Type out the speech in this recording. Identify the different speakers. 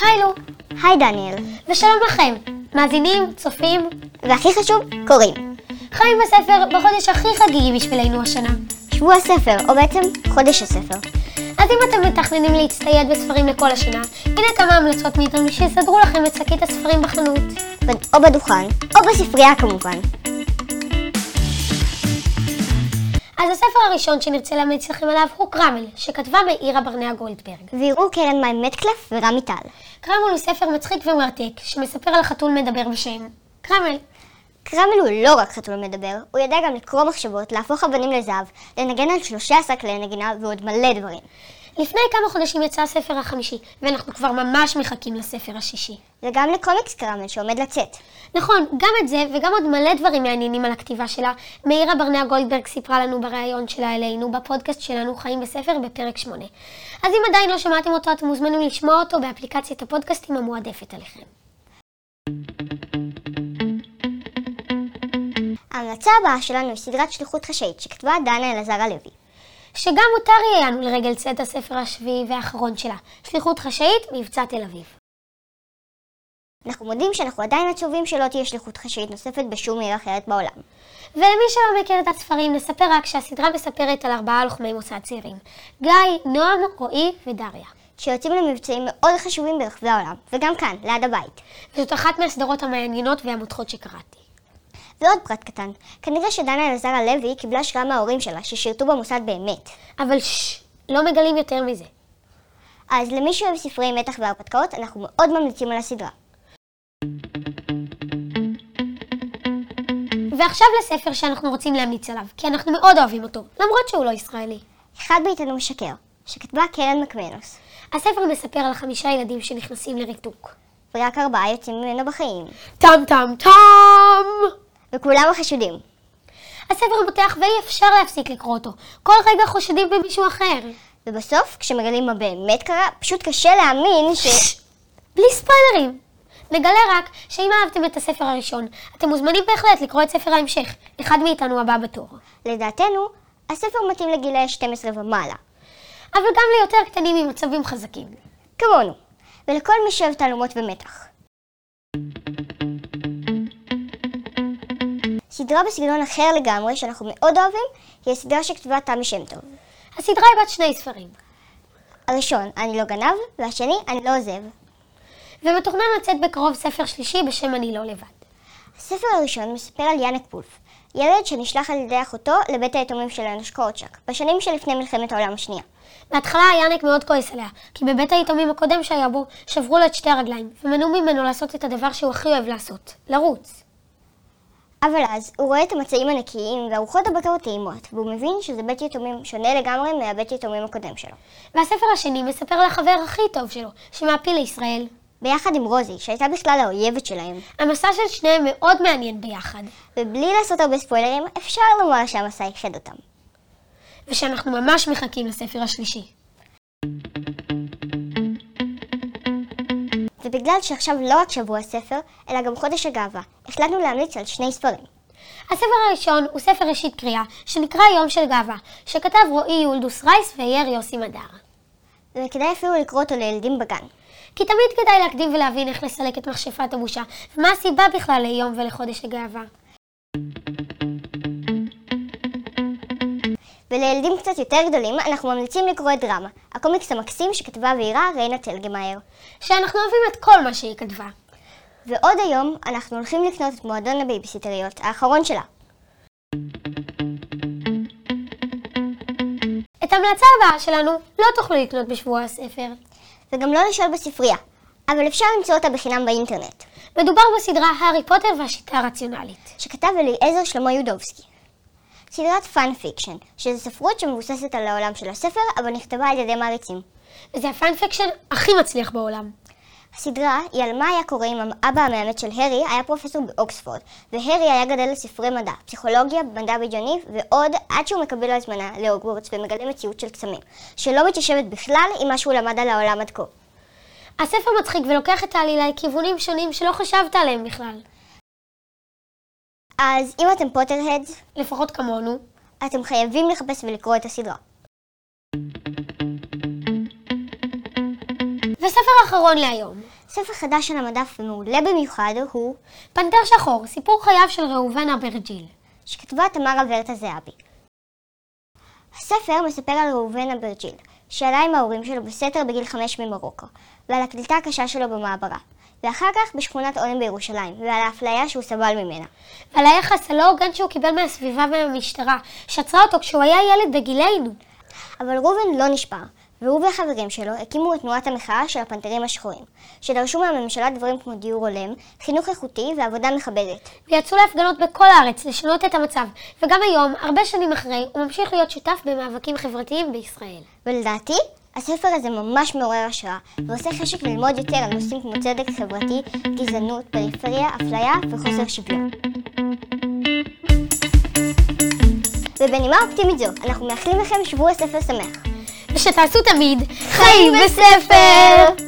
Speaker 1: היי לו,
Speaker 2: היי דניאל,
Speaker 1: ושלום לכם, מאזינים, צופים.
Speaker 2: והכי חשוב, קוראים.
Speaker 1: חיים בספר בחודש הכי חגיגי בשבילנו השנה.
Speaker 2: שבוע הספר, או בעצם חודש הספר.
Speaker 1: אז אם אתם מתכננים להצטייד בספרים לכל השנה, הנה כמה המלצות מאיתנו שיסדרו לכם את שקית הספרים בחנות.
Speaker 2: בד- או בדוכן, או בספרייה כמובן.
Speaker 1: אז הספר הראשון שנרצה להמליץ לכם עליו הוא קרמל, שכתבה מאירה ברנע גולדברג.
Speaker 2: ויראו קרן מים מטקלף ורמי טל.
Speaker 1: קרמל הוא ספר מצחיק ומרתק, שמספר על חתול מדבר בשם קרמל.
Speaker 2: קרמל הוא לא רק חתול מדבר, הוא יודע גם לקרוא מחשבות, להפוך אבנים לזהב, לנגן על 13 כלי נגינה ועוד מלא דברים.
Speaker 1: לפני כמה חודשים יצא הספר החמישי, ואנחנו כבר ממש מחכים לספר השישי.
Speaker 2: וגם לקומיקס קרמל שעומד לצאת.
Speaker 1: נכון, גם את זה וגם עוד מלא דברים מעניינים על הכתיבה שלה, מאירה ברנע גולדברג סיפרה לנו בריאיון שלה אלינו, בפודקאסט שלנו חיים בספר בפרק 8. אז אם עדיין לא שמעתם אותו, אתם מוזמנים לשמוע אותו באפליקציית הפודקאסטים המועדפת עליכם.
Speaker 2: ההמלצה הבאה שלנו היא סדרת שליחות חשאית שכתבה דנה אלעזר הלוי.
Speaker 1: שגם אותה ראיינו לרגל צאת הספר השביעי והאחרון שלה, שליחות חשאית, מבצע תל אביב.
Speaker 2: אנחנו מודים שאנחנו עדיין עצובים שלא תהיה שליחות חשאית נוספת בשום עיר אחרת בעולם.
Speaker 1: ולמי שלא מכיר את הספרים, נספר רק שהסדרה מספרת על ארבעה לוחמי מוסד צעירים. גיא, נועם, רועי ודריה.
Speaker 2: שיוצאים למבצעים מאוד חשובים ברחבי העולם, וגם כאן, ליד הבית.
Speaker 1: וזאת אחת מהסדרות המעניינות והמותחות שקראתי.
Speaker 2: ועוד פרט קטן, כנראה שדנה אלעזר הלוי קיבלה השראה מההורים שלה, ששירתו במוסד באמת.
Speaker 1: אבל ששש, לא מגלים יותר מזה.
Speaker 2: אז למי שאוהב ספרי מתח והרפתקאות, אנחנו מאוד ממליצים על הסדרה.
Speaker 1: ועכשיו לספר שאנחנו רוצים להמליץ עליו, כי אנחנו מאוד אוהבים אותו, למרות שהוא לא ישראלי.
Speaker 2: אחד מאיתנו משקר, שכתבה קרן מקמנוס,
Speaker 1: הספר מספר על חמישה ילדים שנכנסים לריתוק.
Speaker 2: ורק ארבעה יוצאים ממנו בחיים,
Speaker 1: טם טם טם!
Speaker 2: וכולם החשודים.
Speaker 1: הספר מותח ואי אפשר להפסיק לקרוא אותו. כל רגע חושדים במישהו אחר.
Speaker 2: ובסוף, כשמגלים מה באמת קרה, פשוט קשה להאמין ש...
Speaker 1: בלי ספוילרים. נגלה רק שאם אהבתם את הספר הראשון, אתם מוזמנים בהחלט לקרוא את ספר ההמשך, אחד מאיתנו הבא בתור.
Speaker 2: לדעתנו, הספר מתאים לגילאי 12 ומעלה,
Speaker 1: אבל גם ליותר קטנים עם מצבים חזקים.
Speaker 2: כמונו, ולכל מי שאוהב תעלומות ומתח. סדרה בסגנון אחר לגמרי, שאנחנו מאוד אוהבים, היא הסדרה שכתבה תמי שם טוב.
Speaker 1: הסדרה היא בת שני ספרים,
Speaker 2: הראשון, אני לא גנב, והשני, אני לא עוזב.
Speaker 1: ומתוכנן לצאת בקרוב ספר שלישי בשם אני לא לבד.
Speaker 2: הספר הראשון מספר על יאנק פולף, ילד שנשלח על ידי אחותו לבית היתומים של אנוש קורצ'אק, בשנים שלפני מלחמת העולם השנייה.
Speaker 1: בהתחלה יאנק מאוד כועס עליה, כי בבית היתומים הקודם שהיה בו, שברו לו את שתי הרגליים, ומנעו ממנו לעשות את הדבר שהוא הכי אוהב לעשות, לרוץ.
Speaker 2: אבל אז, הוא רואה את המצעים הנקיים והרוחות הבקרות טעימות, והוא מבין שזה בית יתומים שונה לגמרי מהבית יתומים הקודם שלו.
Speaker 1: והספר השני מספר על החבר הכי טוב שלו, שמעפיל לישראל.
Speaker 2: ביחד עם רוזי, שהייתה בכלל האויבת שלהם.
Speaker 1: המסע של שניהם מאוד מעניין ביחד,
Speaker 2: ובלי לעשות הרבה ספוילרים, אפשר לומר שהמסע איחד אותם.
Speaker 1: ושאנחנו ממש מחכים לספר השלישי.
Speaker 2: ובגלל שעכשיו לא רק שבוע הספר, אלא גם חודש הגאווה, החלטנו להמליץ על שני ספרים.
Speaker 1: הספר הראשון הוא ספר ראשית קריאה, שנקרא יום של גאווה, שכתב רועי יולדוס רייס ויאיר יוסי מדר.
Speaker 2: וכדאי אפילו לקרוא אותו לילדים בגן.
Speaker 1: כי תמיד כדאי להקדים ולהבין איך לסלק את מכשפת הבושה, ומה הסיבה בכלל ליום ולחודש הגאווה.
Speaker 2: ולילדים קצת יותר גדולים, אנחנו ממליצים לקרוא את דרמה, הקומיקס המקסים שכתבה ואירה ריינה טלגמאייר.
Speaker 1: שאנחנו אוהבים את כל מה שהיא כתבה.
Speaker 2: ועוד היום, אנחנו הולכים לקנות את מועדון הבייביסיטריות, האחרון שלה.
Speaker 1: את ההמלצה הבאה שלנו לא תוכלו לקנות בשבוע הספר.
Speaker 2: וגם לא לשאול בספרייה, אבל אפשר למצוא אותה בחינם באינטרנט,
Speaker 1: מדובר בסדרה הארי פוטר והשיטה הרציונלית.
Speaker 2: שכתב אליעזר שלמה יודובסקי. סדרת פאן פיקשן, שזו ספרות שמבוססת על העולם של הספר, אבל נכתבה על ידי מעריצים.
Speaker 1: וזה הפאנפקשן הכי מצליח בעולם.
Speaker 2: הסדרה היא על מה היה קורה אם האבא המאמץ של הרי היה פרופסור באוקספורד, והרי היה גדל לספרי מדע, פסיכולוגיה, מדע בדיוני ועוד, עד שהוא מקבל הזמנה להוגוורטס ומגלה מציאות של קסמים, שלא מתיישבת בכלל עם מה שהוא למד על העולם עד כה.
Speaker 1: הספר מצחיק ולוקח את העלילה לכיוונים שונים שלא חשבת עליהם בכלל.
Speaker 2: אז אם אתם פוטר-הדס,
Speaker 1: לפחות כמונו.
Speaker 2: אתם חייבים לחפש ולקרוא את הסדרה.
Speaker 1: וספר אחרון להיום,
Speaker 2: ספר חדש על המדף ומעולה במיוחד הוא
Speaker 1: פנתר שחור, סיפור חייו של ראובן אברג'יל.
Speaker 2: שכתבה תמרה ורטה זהבי. הספר מספר על ראובן אברג'יל, שעלה עם ההורים שלו בסתר בגיל חמש ממרוקו, ועל הקליטה הקשה שלו במעברה, ואחר כך בשכונת עולם בירושלים, ועל האפליה שהוא סבל ממנה.
Speaker 1: ועל היחס הלא הוגן שהוא קיבל מהסביבה ומהמשטרה, שעצרה אותו כשהוא היה ילד בגילנו.
Speaker 2: אבל ראובן לא נשבר, והוא והחברים שלו הקימו את תנועת המחאה של הפנתרים השחורים, שדרשו מהממשלה דברים כמו דיור הולם, חינוך איכותי ועבודה מכבדת.
Speaker 1: ויצאו להפגנות בכל הארץ לשנות את המצב, וגם היום, הרבה שנים אחרי, הוא ממשיך להיות שותף במאבקים חברתיים בישראל.
Speaker 2: ולדעתי, הספר הזה ממש מעורר השראה, ועושה חשק ללמוד יותר על נושאים כמו צדק חברתי, גזענות, פריפריה, אפליה וחוסר שוויון. ובנימה אופטימית זו, אנחנו מאחלים לכם שבוע ספר שמח.
Speaker 1: ושתעשו תמיד חיים בספר!